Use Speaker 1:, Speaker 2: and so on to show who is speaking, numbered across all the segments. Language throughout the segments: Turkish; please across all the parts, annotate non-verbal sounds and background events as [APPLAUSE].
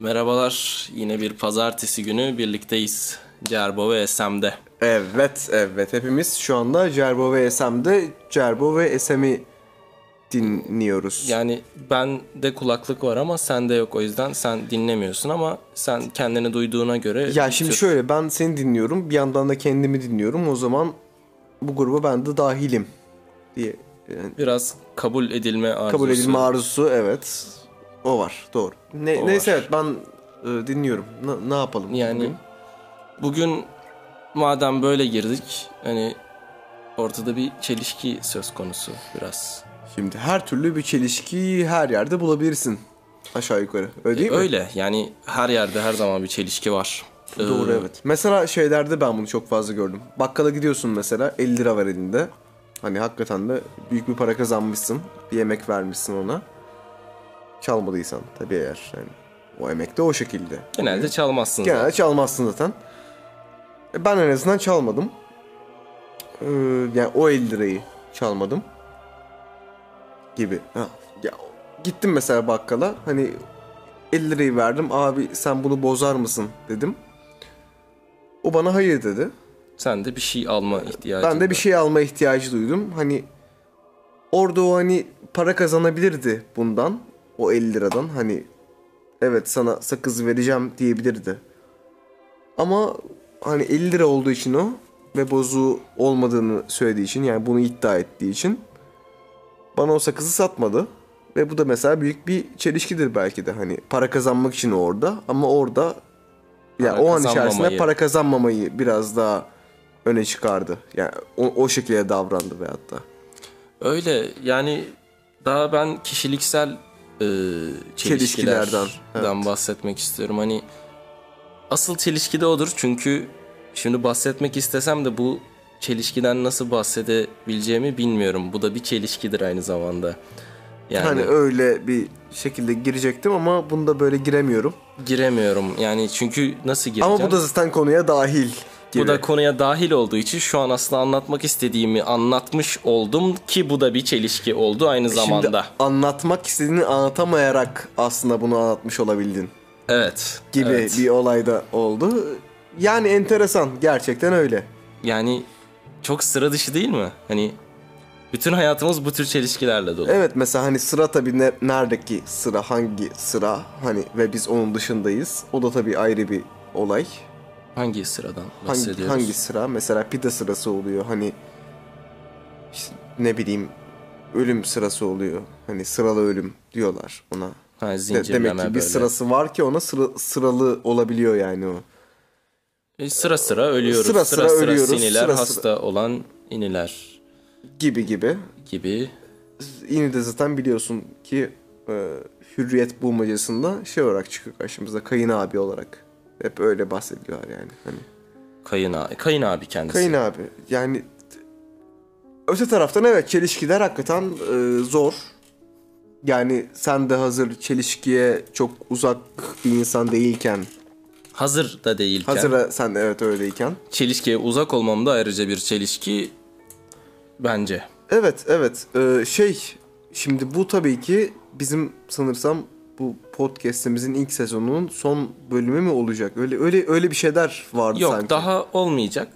Speaker 1: Merhabalar, yine bir pazartesi günü birlikteyiz. Cerbo ve SM'de.
Speaker 2: Evet, evet. Hepimiz şu anda Cerbo ve SM'de Cerbo ve SM'i dinliyoruz.
Speaker 1: Yani ben de kulaklık var ama sende yok o yüzden sen dinlemiyorsun ama sen kendini duyduğuna göre...
Speaker 2: ya şimdi
Speaker 1: Tür-
Speaker 2: şöyle ben seni dinliyorum, bir yandan da kendimi dinliyorum. O zaman bu gruba ben de dahilim diye yani
Speaker 1: Biraz kabul edilme arzusu.
Speaker 2: kabul edilme arzusu evet. O var, doğru. Ne,
Speaker 1: O
Speaker 2: neyse
Speaker 1: var.
Speaker 2: evet ben e, dinliyorum. Ne- ne yapalım?
Speaker 1: Yani
Speaker 2: bugün?
Speaker 1: bugün madem böyle girdik hani ortada bir çelişki söz konusu biraz.
Speaker 2: şimdi her türlü bir çelişkiyi her yerde bulabilirsin. Aşağı yukarı. Öyle değil mi?
Speaker 1: Öyle yani her yerde her zaman bir çelişki var. Ee,
Speaker 2: Doğru evet. Mesela şeylerde ben bunu çok fazla gördüm. Bakkala gidiyorsun mesela 50 lira var elinde. Hani hakikaten de büyük bir para kazanmışsın. Bir emek vermişsin ona. Çalmadıysan tabii eğer. Yani o emek de o şekilde.
Speaker 1: Genelde çalmazsın zaten.
Speaker 2: Genelde çalmazsın zaten. E, Ben en azından çalmadım. Ee, yani o 50 lirayı çalmadım. Gibi. Ha. Ya, gittim mesela bakkala. Hani 50 lirayı verdim. Abi sen bunu bozar mısın dedim. O bana hayır dedi.
Speaker 1: Sen de bir şey alma ihtiyacı
Speaker 2: Ben de bir şey alma ihtiyacı duydum. Hani orada o hani para kazanabilirdi bundan. O 50 liradan hani evet sana sakız vereceğim diyebilirdi. Ama hani 50 lira olduğu için o ve bozu olmadığını söylediği için yani bunu iddia ettiği için bana o sakızı satmadı. Ve bu da mesela büyük bir çelişkidir belki de hani para kazanmak için orada ama orada ya
Speaker 1: Para
Speaker 2: o an içerisinde
Speaker 1: kazanmamayı.
Speaker 2: para kazanmamayı biraz daha öne çıkardı. Yani o, o şekilde davrandı ve hatta.
Speaker 1: Öyle yani daha ben kişiliksel e,
Speaker 2: Çelişkilerden,
Speaker 1: çelişkilerden
Speaker 2: evet.
Speaker 1: bahsetmek istiyorum. Hani asıl çelişki de odur çünkü şimdi bahsetmek istesem de bu çelişkiden nasıl bahsedebileceğimi bilmiyorum. Bu da bir çelişkidir aynı zamanda. Yani
Speaker 2: Hani öyle bir şekilde girecektim ama bunda böyle giremiyorum.
Speaker 1: giremiyorum. Yani çünkü nasıl gireceğim?
Speaker 2: Ama bu da zaten konuya dahil. Gibi.
Speaker 1: Bu da konuya dahil olduğu için şu an aslında anlatmak istediğimi anlatmış oldum ki bu da bir çelişki oldu aynı zamanda.
Speaker 2: E Şimdi anlatmak istediğini anlatamayarak aslında bunu anlatmış olabildin
Speaker 1: evet.
Speaker 2: gibi
Speaker 1: evet.
Speaker 2: bir olay da oldu. Yani enteresan gerçekten öyle.
Speaker 1: Yani çok sıra dışı değil mi? Hani bütün hayatımız bu tür çelişkilerle dolu.
Speaker 2: Evet mesela hani sıra tabii ne, neredeki sıra hangi sıra hani ve biz onun dışındayız. O da tabii ayrı bir olay.
Speaker 1: Hangi sıradan
Speaker 2: Hangi,
Speaker 1: bahsediyoruz?
Speaker 2: hangi sıra? Mesela pide sırası oluyor. Hani işte ne bileyim ölüm sırası oluyor. Hani sıralı ölüm diyorlar ona.
Speaker 1: Ha,
Speaker 2: De-
Speaker 1: zincirleme
Speaker 2: demek ki bir
Speaker 1: böyle.
Speaker 2: sırası var ki ona sıra, sıralı olabiliyor yani o.
Speaker 1: E, sıra sıra ölüyoruz.
Speaker 2: Sıra sıra ölüyoruz,
Speaker 1: Siniler
Speaker 2: sıra sıra-
Speaker 1: hasta olan iniler
Speaker 2: Gibi gibi.
Speaker 1: gibi.
Speaker 2: Yine de zaten biliyorsun ki e, Hürriyet bulmacasında şey olarak çıkıyor karşımıza. Kayın abi olarak. Hep öyle bahsediyorlar yani. Hani
Speaker 1: Kayın, a- kayın abi kendisi.
Speaker 2: Kayın abi. Yani öte taraftan evet çelişkiler hakikaten e, zor. Yani sen de hazır çelişkiye çok uzak bir insan değilken,
Speaker 1: Hazır da değilken.
Speaker 2: hazır sen de evet öyleyken.
Speaker 1: Çelişkiye uzak olmam da ayrıca bir çelişki bence.
Speaker 2: Evet, evet. E, şey şimdi bu tabii ki bizim sanırsam bu podcast'imizin ilk sezonunun son bölümü mü olacak? Öyle öyle öyle bir şeyler vardı
Speaker 1: Yok
Speaker 2: sanki.
Speaker 1: daha olmayacak.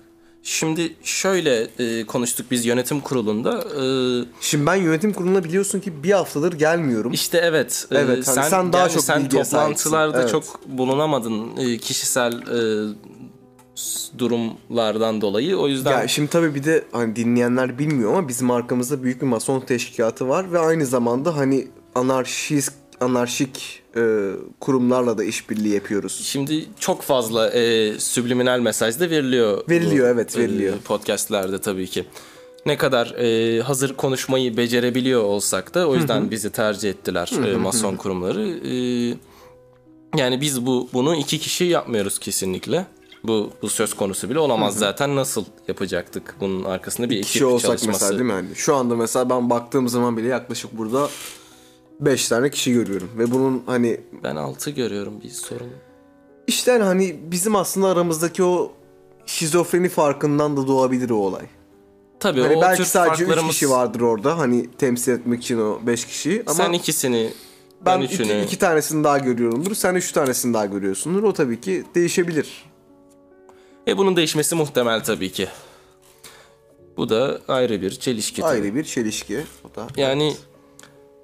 Speaker 1: Şimdi şöyle e, konuştuk biz yönetim kurulunda. E,
Speaker 2: Şimdi ben yönetim kuruluna biliyorsun ki bir haftadır gelmiyorum.
Speaker 1: İşte evet. e,
Speaker 2: Evet, hani
Speaker 1: sen,
Speaker 2: sen daha
Speaker 1: yani
Speaker 2: çok
Speaker 1: sen
Speaker 2: bilgiye
Speaker 1: toplantılarda
Speaker 2: sahipsin, evet.
Speaker 1: çok bulunamadın e, kişisel e, s- durumlardan dolayı. O yüzden
Speaker 2: Ya şimdi tabii bir de hani dinleyenler bilmiyor ama bizim arkamızda büyük bir mason teşkilatı var ve aynı zamanda hani anarşist anarşik e, kurumlarla da işbirliği yapıyoruz.
Speaker 1: şimdi çok fazla e, subliminal mesaj da veriliyor.
Speaker 2: Veriliyor,
Speaker 1: Bu, e,
Speaker 2: evet, veriliyor.
Speaker 1: podcastlerde tabii ki. Ne kadar e, hazır konuşmayı becerebiliyor olsak da o yüzden bizi tercih ettiler e, mason kurumları. E, yani biz bu bunu iki kişi yapmıyoruz kesinlikle. Bu, bu söz konusu bile olamaz zaten nasıl yapacaktık bunun arkasında bir ekip
Speaker 2: Kişi olsak
Speaker 1: çalışması
Speaker 2: mesela değil mi? Hani şu anda mesela ben baktığım zaman bile yaklaşık burada 5 tane kişi görüyorum ve bunun hani
Speaker 1: Ben 6 görüyorum bir sorun.
Speaker 2: işte hani bizim aslında aramızdaki o şizofreni farkından da doğabilir o olay.
Speaker 1: Tabii
Speaker 2: Hani
Speaker 1: E, o
Speaker 2: belki
Speaker 1: tür
Speaker 2: sadece 3
Speaker 1: farklarımız...
Speaker 2: kişi vardır orada hani temsil etmek için o 5 kişiyi ama
Speaker 1: Sen ikisini
Speaker 2: Ben
Speaker 1: Ben
Speaker 2: iki,
Speaker 1: üçünü-
Speaker 2: iki tanesini daha görüyorumdur. Sen üç tanesini daha görüyorsundur. O tabii ki değişebilir.
Speaker 1: E bunun değişmesi muhtemel tabii ki. Bu da ayrı bir çelişki. tabii.
Speaker 2: Ayrı bir çelişki. O da
Speaker 1: Yani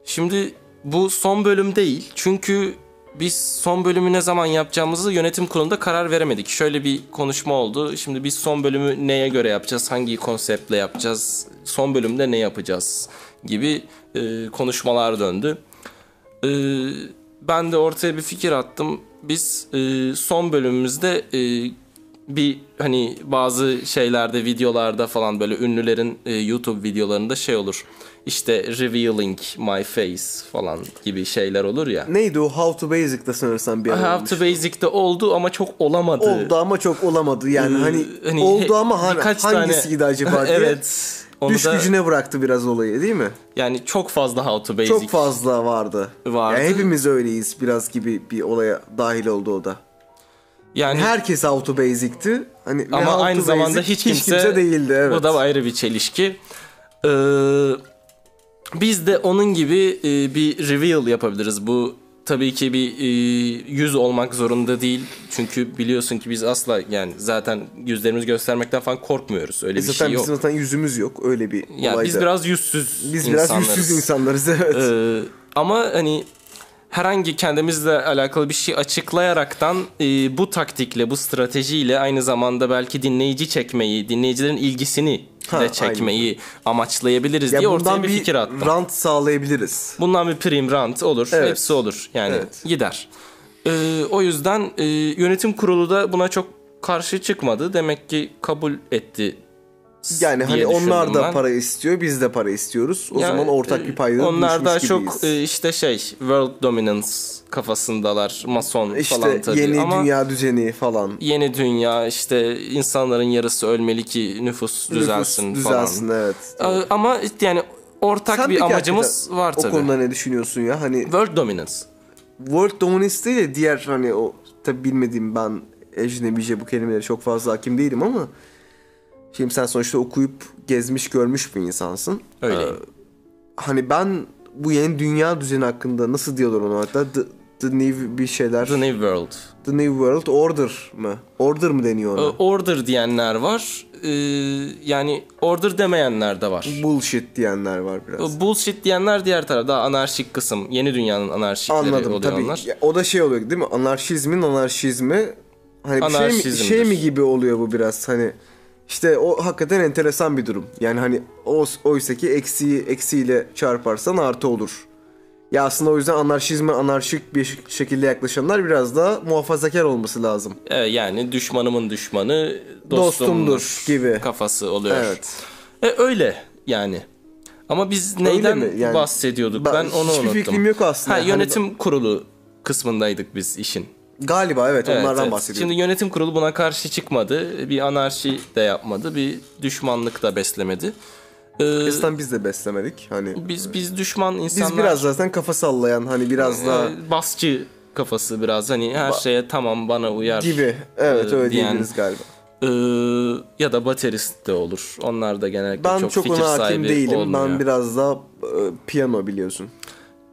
Speaker 1: şimdi bu son bölüm değil. Çünkü biz son bölümü ne zaman yapacağımızı yönetim kurulunda karar veremedik. Şöyle bir konuşma oldu. Şimdi biz son bölümü neye göre yapacağız? Hangi konseptle yapacağız? Son bölümde ne yapacağız? Gibi e, konuşmalar döndü. E, ben de ortaya bir fikir attım. Biz e, son bölümümüzde e, bir hani bazı şeylerde videolarda falan böyle ünlülerin e, YouTube videolarında şey olur. İşte revealing my face falan gibi şeyler olur ya.
Speaker 2: Neydi o How to Basic'te sanırsam bir ara
Speaker 1: Have
Speaker 2: olmuş.
Speaker 1: to Basic'te oldu ama çok olamadı.
Speaker 2: Oldu ama çok olamadı. Yani
Speaker 1: Ee,
Speaker 2: hani,
Speaker 1: hani
Speaker 2: oldu
Speaker 1: he-
Speaker 2: ama hani,
Speaker 1: birkaç tane-
Speaker 2: hangisiydi
Speaker 1: [LAUGHS]
Speaker 2: acaba diye.
Speaker 1: evet. Onu
Speaker 2: Düş
Speaker 1: da
Speaker 2: gücüne bıraktı biraz olayı değil mi?
Speaker 1: yani çok fazla how to basic.
Speaker 2: Çok fazla vardı.
Speaker 1: Vardı.
Speaker 2: Yani hepimiz öyleyiz biraz gibi bir olaya dahil oldu o da.
Speaker 1: Yani
Speaker 2: Herkes auto basic'ti. Hani ve
Speaker 1: ama
Speaker 2: how
Speaker 1: aynı
Speaker 2: to
Speaker 1: zamanda
Speaker 2: basic
Speaker 1: hiç kimse,
Speaker 2: değildi evet.
Speaker 1: Bu da ayrı bir çelişki. Ee, biz de onun gibi e, bir reveal yapabiliriz. Bu tabii ki bir e, yüz olmak zorunda değil. Çünkü biliyorsun ki biz asla yani zaten yüzlerimizi göstermekten falan korkmuyoruz. Öyle bir
Speaker 2: E, zaten
Speaker 1: şey
Speaker 2: bizim
Speaker 1: yok.
Speaker 2: zaten yüzümüz yok öyle bir
Speaker 1: Yani
Speaker 2: olayda.
Speaker 1: biz biraz yüzsüz
Speaker 2: Biz biraz
Speaker 1: insanlarız.
Speaker 2: yüzsüz insanlarız evet.
Speaker 1: Ee, ama hani herhangi kendimizle alakalı bir şey açıklayaraktan e, bu taktikle, bu stratejiyle aynı zamanda belki dinleyici çekmeyi, dinleyicilerin ilgisini
Speaker 2: Ha,
Speaker 1: de çekmeyi amaçlayabiliriz
Speaker 2: ya
Speaker 1: diye
Speaker 2: bundan
Speaker 1: ortaya
Speaker 2: bir
Speaker 1: bir fikir attım.
Speaker 2: rant sağlayabiliriz.
Speaker 1: Bundan bir prim rant olur.
Speaker 2: Evet.
Speaker 1: Hepsi olur. Yani
Speaker 2: Evet.
Speaker 1: gider. Ee, o yüzden e, yönetim kurulu da buna çok karşı çıkmadı. Demek ki kabul etti. s-
Speaker 2: Yani hani
Speaker 1: diye
Speaker 2: onlar
Speaker 1: düşündüm
Speaker 2: da
Speaker 1: ben.
Speaker 2: para istiyor, biz de para istiyoruz. O
Speaker 1: Ya,
Speaker 2: zaman ortak
Speaker 1: e,
Speaker 2: bir payda
Speaker 1: Onlar da
Speaker 2: buluşmuş
Speaker 1: çok
Speaker 2: gibiyiz.
Speaker 1: e, işte şey world dominance kafasındalar mason
Speaker 2: İşte
Speaker 1: falan tabii
Speaker 2: yeni
Speaker 1: ama
Speaker 2: dünya düzeni falan.
Speaker 1: yeni dünya işte insanların yarısı ölmeli ki nüfus [LAUGHS] düzelsin,
Speaker 2: Nüfus
Speaker 1: falan.
Speaker 2: düzelsin evet.
Speaker 1: E, Ama yani ortak
Speaker 2: Sen
Speaker 1: bir
Speaker 2: peki
Speaker 1: amacımız
Speaker 2: hakikaten
Speaker 1: var tabii.
Speaker 2: O konuda ne düşünüyorsun ya? Hani
Speaker 1: World dominance.
Speaker 2: World Dominance değil de diğer hani o tabi bilmediğim ben ejnebice bu kelimelere çok fazla hakim değilim ama şimdi sen sonuçta okuyup gezmiş görmüş bir insansın.
Speaker 1: Öyle.
Speaker 2: Ee, hani ben bu yeni dünya düzeni hakkında nasıl diyorlar onu hatta the, the new bir şeyler
Speaker 1: The
Speaker 2: the,
Speaker 1: new world.
Speaker 2: new world order mı? Order mı deniyor
Speaker 1: E,
Speaker 2: ona?
Speaker 1: Order diyenler var. E, Yani order demeyenler de var.
Speaker 2: Bullshit diyenler var biraz.
Speaker 1: E, Bullshit diyenler diğer tarafta daha anarşik kısım. Yeni dünyanın anarşikleri
Speaker 2: Anladım
Speaker 1: oluyor
Speaker 2: tabii.
Speaker 1: onlar.
Speaker 2: Ya, o da şey oluyor değil mi? Anarşizmin anarşizmi hani bir şey mi,
Speaker 1: Anarşizmdir.
Speaker 2: şey mi gibi oluyor bu biraz hani işte o hakikaten enteresan bir durum. Yani hani o oysa ki eksiği eksiyle çarparsan artı olur. Ya aslında o yüzden anarşizme anarşik bir şekilde yaklaşanlar biraz daha muhafazakar olması lazım.
Speaker 1: E, yani düşmanımın düşmanı
Speaker 2: Dostumdur
Speaker 1: dostumdur,
Speaker 2: gibi.
Speaker 1: kafası oluyor.
Speaker 2: Evet.
Speaker 1: E, öyle yani. Ama biz neyden
Speaker 2: mi? Yani
Speaker 1: bahsediyorduk?
Speaker 2: ben
Speaker 1: Ben, onu
Speaker 2: hiçbir
Speaker 1: unuttum.
Speaker 2: fikrim yok aslında.
Speaker 1: Ha,
Speaker 2: Hani-
Speaker 1: yönetim kurulu kısmındaydık biz işin.
Speaker 2: Galiba evet,
Speaker 1: Evet,
Speaker 2: onlardan
Speaker 1: evet.
Speaker 2: bahsediyorum.
Speaker 1: Şimdi yönetim kurulu buna karşı çıkmadı. Bir anarşi de yapmadı. Bir düşmanlık da beslemedi. E,
Speaker 2: Şimdi biz de beslemedik hani.
Speaker 1: biz biz düşman
Speaker 2: Biz
Speaker 1: insanlar.
Speaker 2: biraz zaten kafa sallayan hani biraz daha
Speaker 1: e, basçı kafası biraz hani her şeye tamam bana uyar
Speaker 2: gibi. Evet
Speaker 1: e, diyen-
Speaker 2: öyle diyebiliriz galiba.
Speaker 1: Ee, ya da baterist de olur. Onlar da genellikle
Speaker 2: Ben
Speaker 1: çok,
Speaker 2: çok,
Speaker 1: fikir
Speaker 2: ona hakim
Speaker 1: sahibi
Speaker 2: değilim.
Speaker 1: olmuyor.
Speaker 2: Ben biraz daha e, piyano biliyorsun.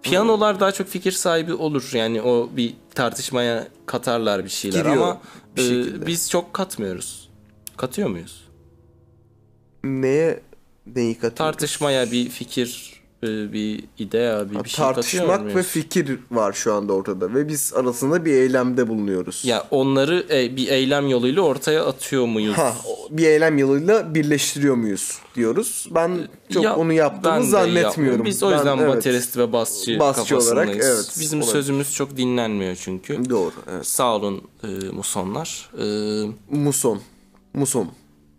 Speaker 1: Piyanolar daha çok fikir sahibi olur. Yani o bir tartışmaya katarlar bir şeyler
Speaker 2: Giriyor
Speaker 1: ama
Speaker 2: bir
Speaker 1: e,
Speaker 2: şekilde.
Speaker 1: biz çok katmıyoruz. Katıyor muyuz?
Speaker 2: Neye neyi katıyorsun?
Speaker 1: Tartışmaya bir fikir, e, bir idea, bir, bir şey katıyor
Speaker 2: Tartışmak
Speaker 1: muyuz?
Speaker 2: ve fikir var şu anda ortada ve biz arasında bir eylemde bulunuyoruz.
Speaker 1: ya onları e, bir eylem yoluyla ortaya atıyor muyuz?
Speaker 2: Ha, o- bir eylem yoluyla birleştiriyor muyuz diyoruz. Ben çok
Speaker 1: Ya,
Speaker 2: onu
Speaker 1: ben
Speaker 2: yaptığımı
Speaker 1: de
Speaker 2: zannetmiyorum.
Speaker 1: yapmıyorum. Biz o
Speaker 2: Ben-
Speaker 1: yüzden
Speaker 2: evet,
Speaker 1: baterist ve basçı,
Speaker 2: Basçı olarak,
Speaker 1: kafasındayız.
Speaker 2: evet,
Speaker 1: Bizim
Speaker 2: olabilir.
Speaker 1: sözümüz çok dinlenmiyor çünkü.
Speaker 2: Doğru. Evet.
Speaker 1: Sağ olun e, musonlar. E,
Speaker 2: Muson. Muson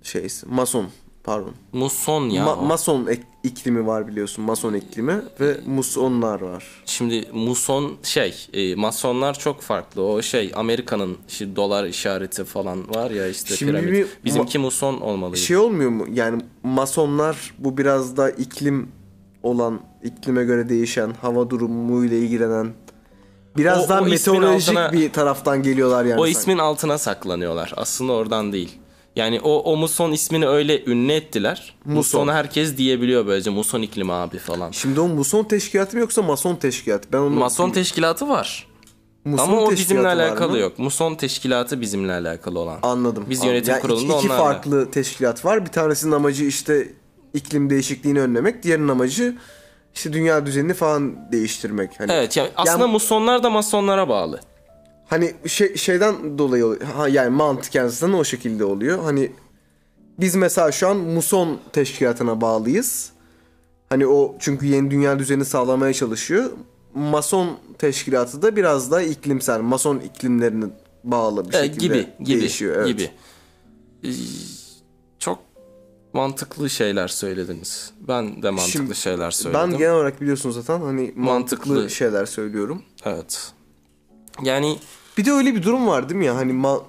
Speaker 2: şeysi. Mason. Pardon.
Speaker 1: muson ya.
Speaker 2: Ma-
Speaker 1: o.
Speaker 2: mason ek- iklimi var biliyorsun. Mason iklimi ve musonlar var.
Speaker 1: Şimdi muson şey, e, masonlar çok farklı. O şey Amerika'nın şi- dolar işareti falan var ya işte
Speaker 2: Şimdi
Speaker 1: piramit.
Speaker 2: bir
Speaker 1: Bizimki muson olmalı.
Speaker 2: şey olmuyor mu? Yani masonlar bu biraz da iklim olan, iklime göre değişen, hava durumuyla ilgilenen biraz
Speaker 1: O-
Speaker 2: daha
Speaker 1: o ismin
Speaker 2: meteorolojik
Speaker 1: altına-
Speaker 2: bir taraftan geliyorlar yani.
Speaker 1: o
Speaker 2: sanki.
Speaker 1: ismin altına saklanıyorlar. Aslında oradan değil. Yani o, o Muson ismini öyle ünlü ettiler.
Speaker 2: Muson.
Speaker 1: Muson'u herkes diyebiliyor böylece. Muson iklimi abi falan.
Speaker 2: Şimdi o Muson teşkilatı mı yoksa Mason teşkilatı? Ben onu
Speaker 1: Mason teşkilatı var.
Speaker 2: Muson
Speaker 1: Ama o bizimle
Speaker 2: teşkilatı var mı?
Speaker 1: alakalı yok. Muson teşkilatı bizimle alakalı olan.
Speaker 2: Anladım.
Speaker 1: Biz
Speaker 2: anladım.
Speaker 1: yönetim
Speaker 2: Yani iki-
Speaker 1: kurulunda
Speaker 2: iki,
Speaker 1: onlarla.
Speaker 2: farklı teşkilat var. Bir tanesinin amacı işte iklim değişikliğini önlemek, diğerinin amacı işte dünya düzenini falan değiştirmek. Hani
Speaker 1: Evet yani aslında
Speaker 2: Yani-
Speaker 1: musonlar da masonlara bağlı.
Speaker 2: hani şey, şeyden dolayı oluyor. ha, yani mantıken zaten o şekilde oluyor. Hani biz mesela şu an Muson teşkilatına bağlıyız. Hani o çünkü yeni dünya düzeni sağlamaya çalışıyor. Mason teşkilatı da biraz daha iklimsel, Mason iklimlerine bağlı bir
Speaker 1: Ee,
Speaker 2: şekilde
Speaker 1: gibi gibi
Speaker 2: değişiyor. Evet.
Speaker 1: gibi. Ee, Çok mantıklı şeyler söylediniz. Ben de mantıklı
Speaker 2: Şimdi
Speaker 1: şeyler söyledim.
Speaker 2: Ben genel olarak biliyorsunuz zaten hani mantıklı,
Speaker 1: Mantıklı.
Speaker 2: şeyler söylüyorum.
Speaker 1: Evet. Yani
Speaker 2: Bir de öyle bir durum var değil mi ya hani ma-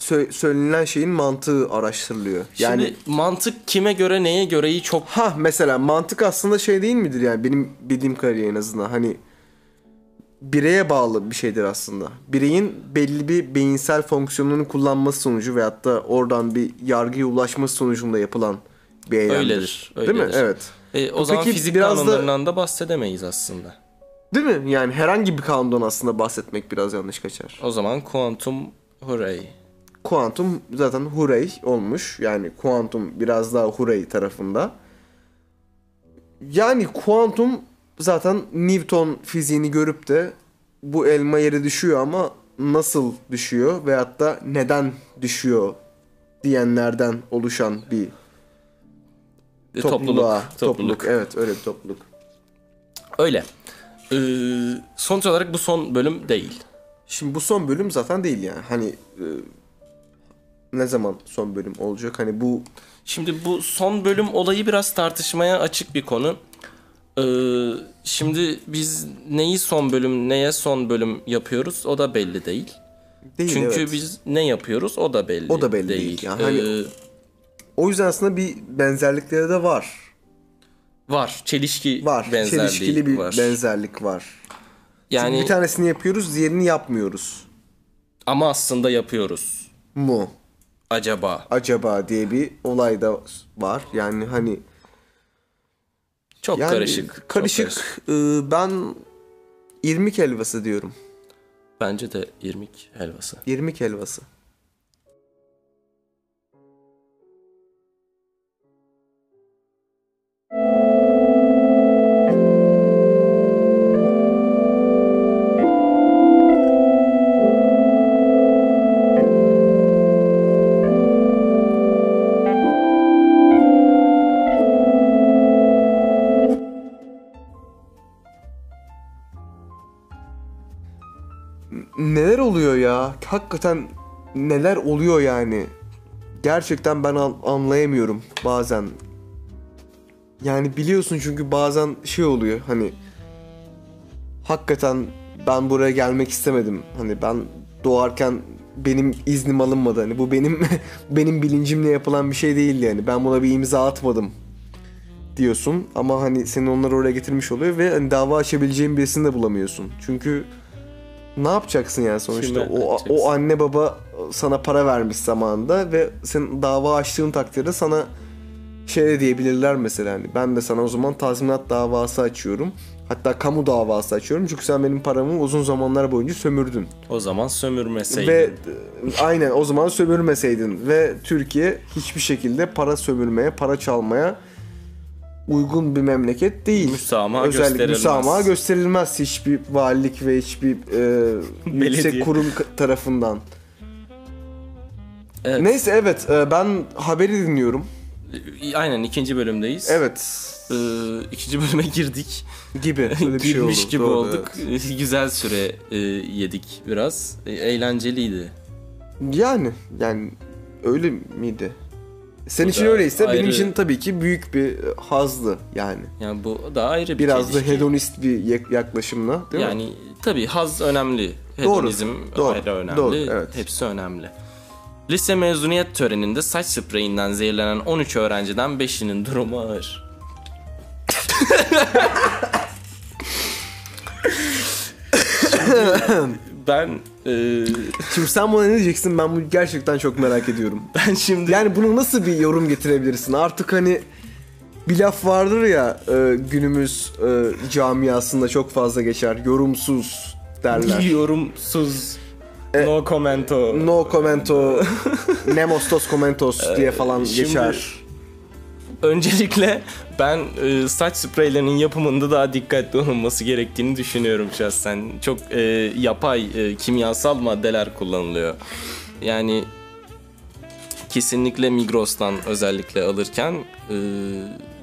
Speaker 2: sö- söylenilen şeyin mantığı araştırılıyor. Yani
Speaker 1: şimdi mantık kime göre neye göreyi çok
Speaker 2: ha mesela mantık aslında şey değil midir yani benim bildiğim kadarıyla en azından hani bireye bağlı bir şeydir aslında. Bireyin belli bir beyinsel fonksiyonunu kullanması sonucu veyahut da oradan bir yargıya ulaşması sonucunda yapılan bir eylemdir.
Speaker 1: öyledir.
Speaker 2: Değil mi?
Speaker 1: öyledir.
Speaker 2: Evet.
Speaker 1: Ee, o zaman
Speaker 2: Peki
Speaker 1: fizik
Speaker 2: biraz da-
Speaker 1: kanunlarından da bahsedemeyiz aslında.
Speaker 2: Değil mi? Yani herhangi bir kanundan aslında bahsetmek biraz yanlış kaçar.
Speaker 1: O zaman kuantum e, hurray.
Speaker 2: kuantum zaten Hurey olmuş. Yani kuantum biraz daha Hurey tarafında. Yani kuantum zaten Newton fiziğini görüp de bu elma yere düşüyor ama nasıl düşüyor veyahut da neden düşüyor diyenlerden oluşan bir
Speaker 1: Ee,
Speaker 2: topluluğa.
Speaker 1: topluluk. Topluluk.
Speaker 2: Evet öyle bir topluluk.
Speaker 1: Öyle. Ee, sonuç olarak bu son bölüm değil.
Speaker 2: Şimdi bu son bölüm zaten değil yani. Hani e, ne zaman son bölüm olacak? Hani bu
Speaker 1: Şimdi bu son bölüm olayı biraz tartışmaya açık bir konu. Ee, şimdi biz neyi son bölüm, neye son bölüm yapıyoruz o da belli değil.
Speaker 2: değil
Speaker 1: Çünkü
Speaker 2: evet.
Speaker 1: biz ne yapıyoruz o da belli.
Speaker 2: O da belli değil ya. Hani-
Speaker 1: Ee,
Speaker 2: O yüzden aslında bir benzerlikleri de var.
Speaker 1: var. Çelişki
Speaker 2: Var.
Speaker 1: benzerliği
Speaker 2: Çelişkili bir
Speaker 1: var.
Speaker 2: benzerlik var.
Speaker 1: yani
Speaker 2: Bir tanesini yapıyoruz, diğerini yapmıyoruz
Speaker 1: ama aslında yapıyoruz.
Speaker 2: mu
Speaker 1: Acaba.
Speaker 2: acaba diye bir olay da var. Yani hani
Speaker 1: Çok
Speaker 2: yani
Speaker 1: karışık. çok
Speaker 2: Karışık. Ee, ben 20 helvası diyorum.
Speaker 1: Bence de irmik helvası.
Speaker 2: 20 helvası. neler oluyor ya? Hakikaten neler oluyor yani? Gerçekten ben an- anlayamıyorum bazen. Yani biliyorsun çünkü bazen şey oluyor hani hakikaten ben buraya gelmek istemedim. Hani ben doğarken benim iznim alınmadı. Hani bu benim [LAUGHS] benim bilincimle yapılan bir şey değil yani. Ben buna bir imza atmadım diyorsun ama hani seni onlar oraya getirmiş oluyor ve hani dava açabileceğin birisini de bulamıyorsun. Çünkü ne yapacaksın yani
Speaker 1: Kime
Speaker 2: sonuçta? O,
Speaker 1: açacaksın?
Speaker 2: o anne baba sana para vermiş zamanında ve sen dava açtığın takdirde sana şey de diyebilirler mesela hani ben de sana o zaman tazminat davası açıyorum. Hatta kamu davası açıyorum çünkü sen benim paramı uzun zamanlar boyunca sömürdün.
Speaker 1: O zaman sömürmeseydin.
Speaker 2: Ve e, aynen o zaman sömürmeseydin ve Türkiye hiçbir şekilde para sömürmeye, para çalmaya uygun bir memleket değil.
Speaker 1: Müsamaha
Speaker 2: Özellikle
Speaker 1: gösterilmez.
Speaker 2: müsamaha gösterilmez hiçbir valilik ve
Speaker 1: [LAUGHS]
Speaker 2: hiçbir e, yüksek
Speaker 1: Belediye.
Speaker 2: kurum k- tarafından.
Speaker 1: Evet.
Speaker 2: Neyse evet e, ben haberi dinliyorum.
Speaker 1: Aynen ikinci bölümdeyiz.
Speaker 2: Evet
Speaker 1: Ee, ikinci bölüme [LAUGHS] girdik. [LAUGHS]
Speaker 2: gibi. Öyle bir şey
Speaker 1: Girmiş
Speaker 2: oldu.
Speaker 1: gibi
Speaker 2: Doğru,
Speaker 1: olduk. [LAUGHS]
Speaker 2: evet.
Speaker 1: Güzel süre e, yedik biraz. E, eğlenceliydi.
Speaker 2: Yani yani öyle miydi? Senin
Speaker 1: Bu
Speaker 2: için
Speaker 1: da
Speaker 2: öyleyse benim
Speaker 1: ayrı-
Speaker 2: için tabii ki büyük bir e, hazdı yani.
Speaker 1: Yani bu da ayrı bir
Speaker 2: Biraz da
Speaker 1: Hani çelişki.
Speaker 2: hedonist bir yak- yaklaşımla değil mi?
Speaker 1: yani tabii haz önemli. Hedonizm
Speaker 2: Doğru,
Speaker 1: ayrı önemli.
Speaker 2: doğru, evet.
Speaker 1: Hepsi önemli. Lise mezuniyet töreninde saç spreyinden zehirlenen 13 öğrenciden 5'inin durumu
Speaker 2: [LAUGHS]
Speaker 1: ağır. Şimdi ben e,
Speaker 2: Şimdi sen buna ne diyeceksin ben bunu gerçekten çok merak ediyorum.
Speaker 1: ben şimdi
Speaker 2: Yani bunu nasıl bir yorum getirebilirsin? Artık hani bir laf vardır ya e, günümüz e, camiasında çok fazla geçer. Yorumsuz derler. E,
Speaker 1: yorumsuz no commento
Speaker 2: No commento,
Speaker 1: [LAUGHS]
Speaker 2: nemostos commentos diye falan
Speaker 1: Şimdi-
Speaker 2: geçer.
Speaker 1: Öncelikle ben e, saç spreylerinin yapımında daha dikkatli olunması gerektiğini düşünüyorum şahsen. Çok e, yapay e, kimyasal maddeler kullanılıyor. Yani kesinlikle Migros'tan özellikle alırken e,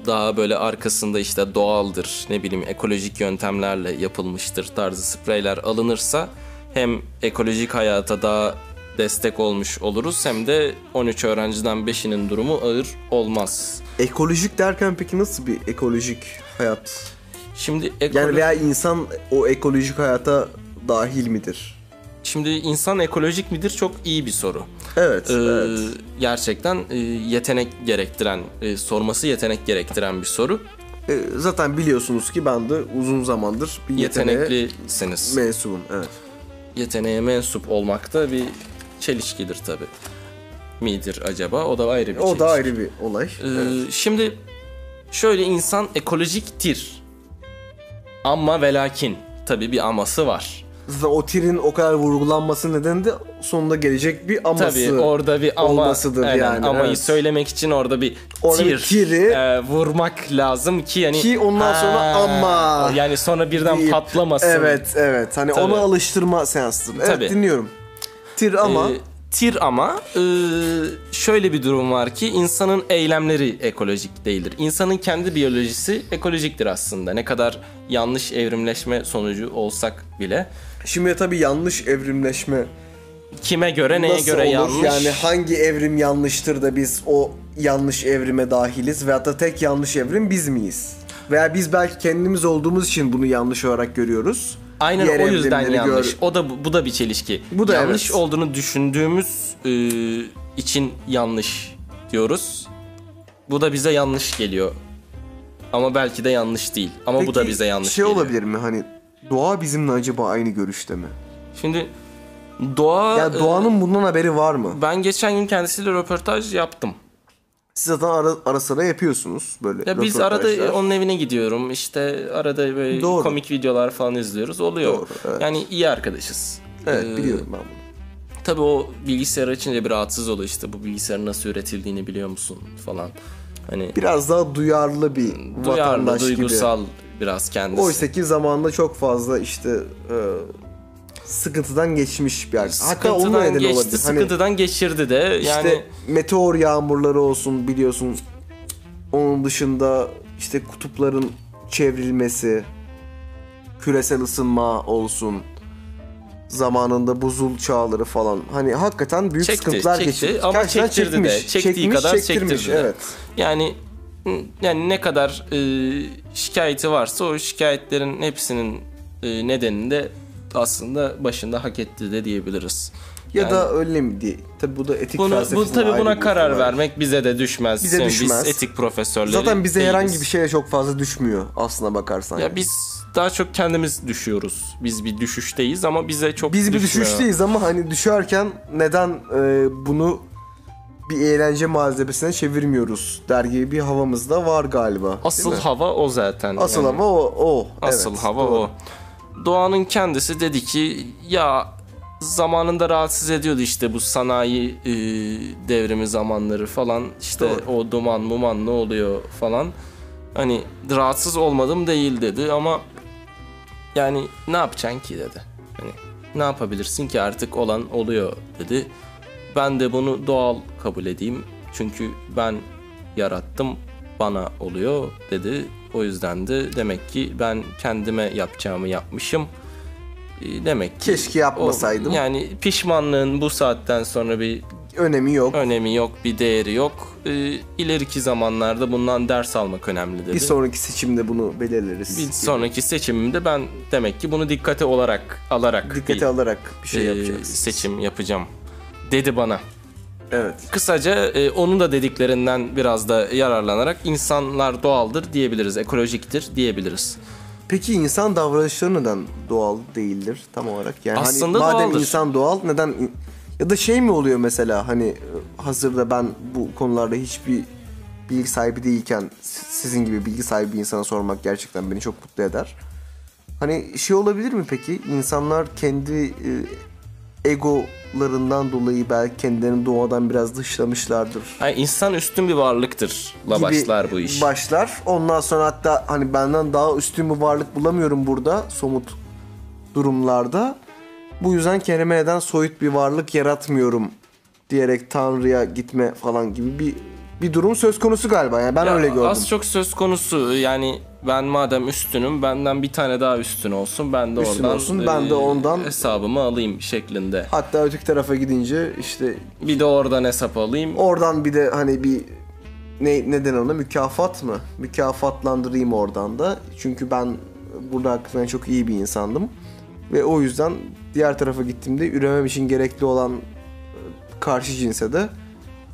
Speaker 1: daha böyle arkasında işte doğaldır ne bileyim ekolojik yöntemlerle yapılmıştır tarzı spreyler alınırsa hem ekolojik hayata daha destek olmuş oluruz hem de 13 öğrenciden 5'inin durumu ağır olmaz.
Speaker 2: Ekolojik derken peki nasıl bir ekolojik hayat?
Speaker 1: Şimdi
Speaker 2: Yani
Speaker 1: ekolo-
Speaker 2: veya insan o ekolojik hayata dahil midir?
Speaker 1: şimdi insan ekolojik midir çok iyi bir soru.
Speaker 2: Evet,
Speaker 1: Ee,
Speaker 2: evet.
Speaker 1: Gerçekten e, yetenek gerektiren, e, sorması yetenek gerektiren bir soru.
Speaker 2: E, zaten biliyorsunuz ki ben de uzun zamandır bir yeteneğe
Speaker 1: Yeteneklisiniz.
Speaker 2: mensubum. Evet.
Speaker 1: Yeteneğe mensup olmak da bir çelişkidir tabi. Midir acaba? O da ayrı bir
Speaker 2: O
Speaker 1: çelişki.
Speaker 2: da ayrı bir olay.
Speaker 1: Ee,
Speaker 2: Evet.
Speaker 1: Şimdi şöyle insan ekolojiktir. Ama ve lakin tabi bir aması var.
Speaker 2: Zaten o tirin o kadar vurgulanması nedeni de sonunda gelecek bir aması.
Speaker 1: Tabii orada bir ama
Speaker 2: olmasıdır
Speaker 1: aynen,
Speaker 2: yani,
Speaker 1: amayı
Speaker 2: evet.
Speaker 1: söylemek için orada bir
Speaker 2: Orada bir
Speaker 1: tir,
Speaker 2: tiri-
Speaker 1: e, vurmak lazım ki yani
Speaker 2: Ki ondan sonra ama
Speaker 1: yani sonra birden
Speaker 2: deyip-
Speaker 1: patlamasın. E,
Speaker 2: Evet evet hani
Speaker 1: Tabii.
Speaker 2: ona alıştırma seansıdır. Evet
Speaker 1: Tabii.
Speaker 2: dinliyorum. Tir ama
Speaker 1: E, tir ama e, şöyle bir durum var ki insanın eylemleri ekolojik değildir. İnsanın kendi biyolojisi ekolojiktir aslında. Ne kadar yanlış evrimleşme sonucu olsak bile
Speaker 2: şimdi tabii yanlış evrimleşme
Speaker 1: kime göre neye
Speaker 2: nasıl
Speaker 1: göre
Speaker 2: olur?
Speaker 1: yanlış?
Speaker 2: Yani hangi evrim yanlıştır da biz o yanlış evrime dahiliz veyahut da tek yanlış evrim biz miyiz? Veya biz belki kendimiz olduğumuz için bunu yanlış olarak görüyoruz.
Speaker 1: Aynen
Speaker 2: Diğer
Speaker 1: o yüzden
Speaker 2: evrimleri gör-
Speaker 1: yanlış. O da bu- bu da bir çelişki.
Speaker 2: Bu da
Speaker 1: yanlış
Speaker 2: evet.
Speaker 1: olduğunu düşündüğümüz e, için yanlış diyoruz. Bu da bize yanlış geliyor. Ama belki de yanlış değil. Ama bu da
Speaker 2: Peki,
Speaker 1: bize yanlış
Speaker 2: şey
Speaker 1: geliyor.
Speaker 2: olabilir mi hani doğa bizimle acaba aynı görüşte mi?
Speaker 1: Şimdi doğa e,
Speaker 2: Ya doğanın bundan haberi var mı?
Speaker 1: Ben geçen gün kendisiyle röportaj yaptım.
Speaker 2: Siz zaten ara, ara sıra yapıyorsunuz böyle.
Speaker 1: Ya biz
Speaker 2: röportajlar.
Speaker 1: arada e, onun evine gidiyorum. İşte arada böyle
Speaker 2: Doğru.
Speaker 1: komik videolar falan izliyoruz. Oluyor.
Speaker 2: Doğru, evet.
Speaker 1: Yani iyi arkadaşız.
Speaker 2: Evet
Speaker 1: Ee,
Speaker 2: biliyorum ben bunu.
Speaker 1: Tabii o bilgisayar açınca bir rahatsız oluyor işte. Bu bilgisayarın nasıl üretildiğini biliyor musun falan. Hani
Speaker 2: Biraz daha duyarlı bir
Speaker 1: duyarlı,
Speaker 2: vatandaş
Speaker 1: duygusal biraz kendisi.
Speaker 2: gibi. Oysa ki zamanında çok fazla işte e, sıkıntıdan geçmiş bir arkadaş. Hatta onun
Speaker 1: sıkıntıdan
Speaker 2: nedeni
Speaker 1: geçti,
Speaker 2: olabilir.
Speaker 1: sıkıntıdan geçirdi de.
Speaker 2: hani
Speaker 1: Yani
Speaker 2: işte meteor yağmurları olsun biliyorsun. Onun dışında işte kutupların çevrilmesi, küresel ısınma olsun. Zamanında buzul çağları falan. Hani hakikaten büyük
Speaker 1: Çekti,
Speaker 2: sıkıntılar
Speaker 1: çekti
Speaker 2: geçirmiş.
Speaker 1: ama
Speaker 2: Gerçekten
Speaker 1: çektirdi de. Çektiği kadar çektirdi de.
Speaker 2: Evet.
Speaker 1: Yani yani ne kadar e, şikayeti varsa o şikayetlerin hepsinin e, nedeni de aslında başında hak etti de diyebiliriz.
Speaker 2: Ya
Speaker 1: Yani
Speaker 2: da öyle mi diye. Tabii bu da etik
Speaker 1: bunu,
Speaker 2: felsefesine
Speaker 1: bu tabii
Speaker 2: ayrı
Speaker 1: buna
Speaker 2: bir
Speaker 1: karar
Speaker 2: konu.
Speaker 1: vermek bize de düşmez.
Speaker 2: Bize düşmez.
Speaker 1: Biz etik profesörleri
Speaker 2: Zaten bize
Speaker 1: değiliz.
Speaker 2: herhangi bir şeye çok fazla düşmüyor aslına bakarsan.
Speaker 1: Ya
Speaker 2: yani.
Speaker 1: biz daha çok kendimiz düşüyoruz. Biz bir düşüşteyiz ama bize çok
Speaker 2: Biz bir
Speaker 1: düşmüyor.
Speaker 2: düşüşteyiz ama hani düşerken neden e, bunu bir eğlence malzemesine çevirmiyoruz der gibi bir havamız da var galiba.
Speaker 1: Asıl
Speaker 2: değil mi?
Speaker 1: hava o zaten.
Speaker 2: asıl
Speaker 1: yani.
Speaker 2: hava o. o.
Speaker 1: Asıl
Speaker 2: Evet,
Speaker 1: hava
Speaker 2: doğru.
Speaker 1: o. Doğanın kendisi dedi ki ya zamanında rahatsız ediyordu işte bu sanayi e, devrimi zamanları falan işte
Speaker 2: Doğru.
Speaker 1: o duman muman ne oluyor falan hani rahatsız olmadım değil dedi ama yani ne yapacaksın ki dedi hani ne yapabilirsin ki artık olan oluyor dedi ben de bunu doğal kabul edeyim çünkü ben yarattım bana oluyor dedi. O yüzden de demek ki ben kendime yapacağımı yapmışım. E, Demek ki
Speaker 2: Keşke yapmasaydım.
Speaker 1: o- yani pişmanlığın bu saatten sonra bir
Speaker 2: Önemi yok.
Speaker 1: önemi yok, bir değeri yok. E, ileriki zamanlarda bundan ders almak önemli dedi.
Speaker 2: Bir sonraki seçimde bunu belirleriz.
Speaker 1: Bir sonraki seçimimde ben demek ki bunu dikkate olarak alarak
Speaker 2: Dikkate
Speaker 1: bir,
Speaker 2: alarak bir şey
Speaker 1: e,
Speaker 2: yapacağız.
Speaker 1: seçim yapacağım dedi bana.
Speaker 2: Evet.
Speaker 1: Kısaca e, onun da dediklerinden biraz da yararlanarak insanlar doğaldır diyebiliriz, ekolojiktir diyebiliriz.
Speaker 2: Peki insan davranışları neden doğal değildir tam olarak? Yani
Speaker 1: Aslında
Speaker 2: hani madem
Speaker 1: doğaldır.
Speaker 2: insan doğal neden in- ya da şey mi oluyor mesela hani e, hazırda ben bu konularda hiçbir bilgi sahibi değilken si- sizin gibi bilgi sahibi bir insana sormak gerçekten beni çok mutlu eder. Hani şey olabilir mi peki? İnsanlar kendi e, egolarından dolayı belki kendilerini doğadan biraz dışlamışlardır
Speaker 1: Yani insan üstün bir varlıktır. La
Speaker 2: gibi
Speaker 1: başlar bu iş.
Speaker 2: Başlar. Ondan sonra hatta hani benden daha üstün bir varlık bulamıyorum burada somut durumlarda. Bu yüzden kendime neden soyut bir varlık yaratmıyorum diyerek Tanrı'ya gitme falan gibi bir bir durum söz konusu galiba. Yani ben
Speaker 1: Ya,
Speaker 2: öyle gördüm.
Speaker 1: Az çok söz konusu yani ben madem üstünüm benden bir tane daha üstün olsun ben de
Speaker 2: Üstün
Speaker 1: oradan e,
Speaker 2: olsun, ben de ondan-
Speaker 1: hesabımı alayım şeklinde.
Speaker 2: Hatta öteki tarafa gidince işte
Speaker 1: Bir de oradan hesap alayım.
Speaker 2: oradan bir de hani bir ne neden ona mükafat mı? Mükafatlandırayım oradan da. Çünkü ben burada hakikaten çok iyi bir insandım. Ve o yüzden diğer tarafa gittiğimde üremem için gerekli olan e, karşı cinse de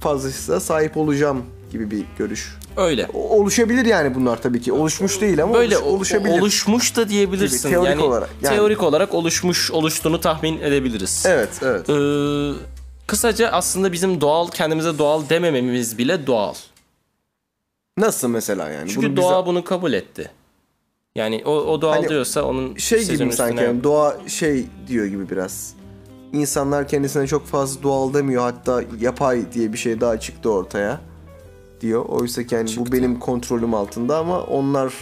Speaker 2: fazlasıyla sahip olacağım gibi bir görüş.
Speaker 1: Öyle.
Speaker 2: O- Oluşabilir yani bunlar tabii ki. Oluşmuş değil ama
Speaker 1: Böyle
Speaker 2: oluş- oluşabilir.
Speaker 1: oluşabilir. oluşmuş da diyebilirsin.
Speaker 2: Gibi, teorik
Speaker 1: yani,
Speaker 2: olarak, yani.
Speaker 1: Teorik olarak oluşmuş, oluştuğunu tahmin edebiliriz.
Speaker 2: evet, evet.
Speaker 1: Ee, kısaca aslında bizim doğal, kendimize doğal demememiz bile doğal.
Speaker 2: Nasıl mesela yani?
Speaker 1: Çünkü
Speaker 2: Bunu bize-
Speaker 1: doğa bunu kabul etti. Yani o, o doğal
Speaker 2: Hani
Speaker 1: diyorsa onun
Speaker 2: şey gibi
Speaker 1: sözünün
Speaker 2: mi sanki
Speaker 1: üstüne-
Speaker 2: yani doğa şey diyor gibi biraz. İnsanlar kendisine çok fazla doğal demiyor hatta yapay diye bir şey daha çıktı ortaya diyor. Oysa ki yani bu benim kontrolüm altında ama onlar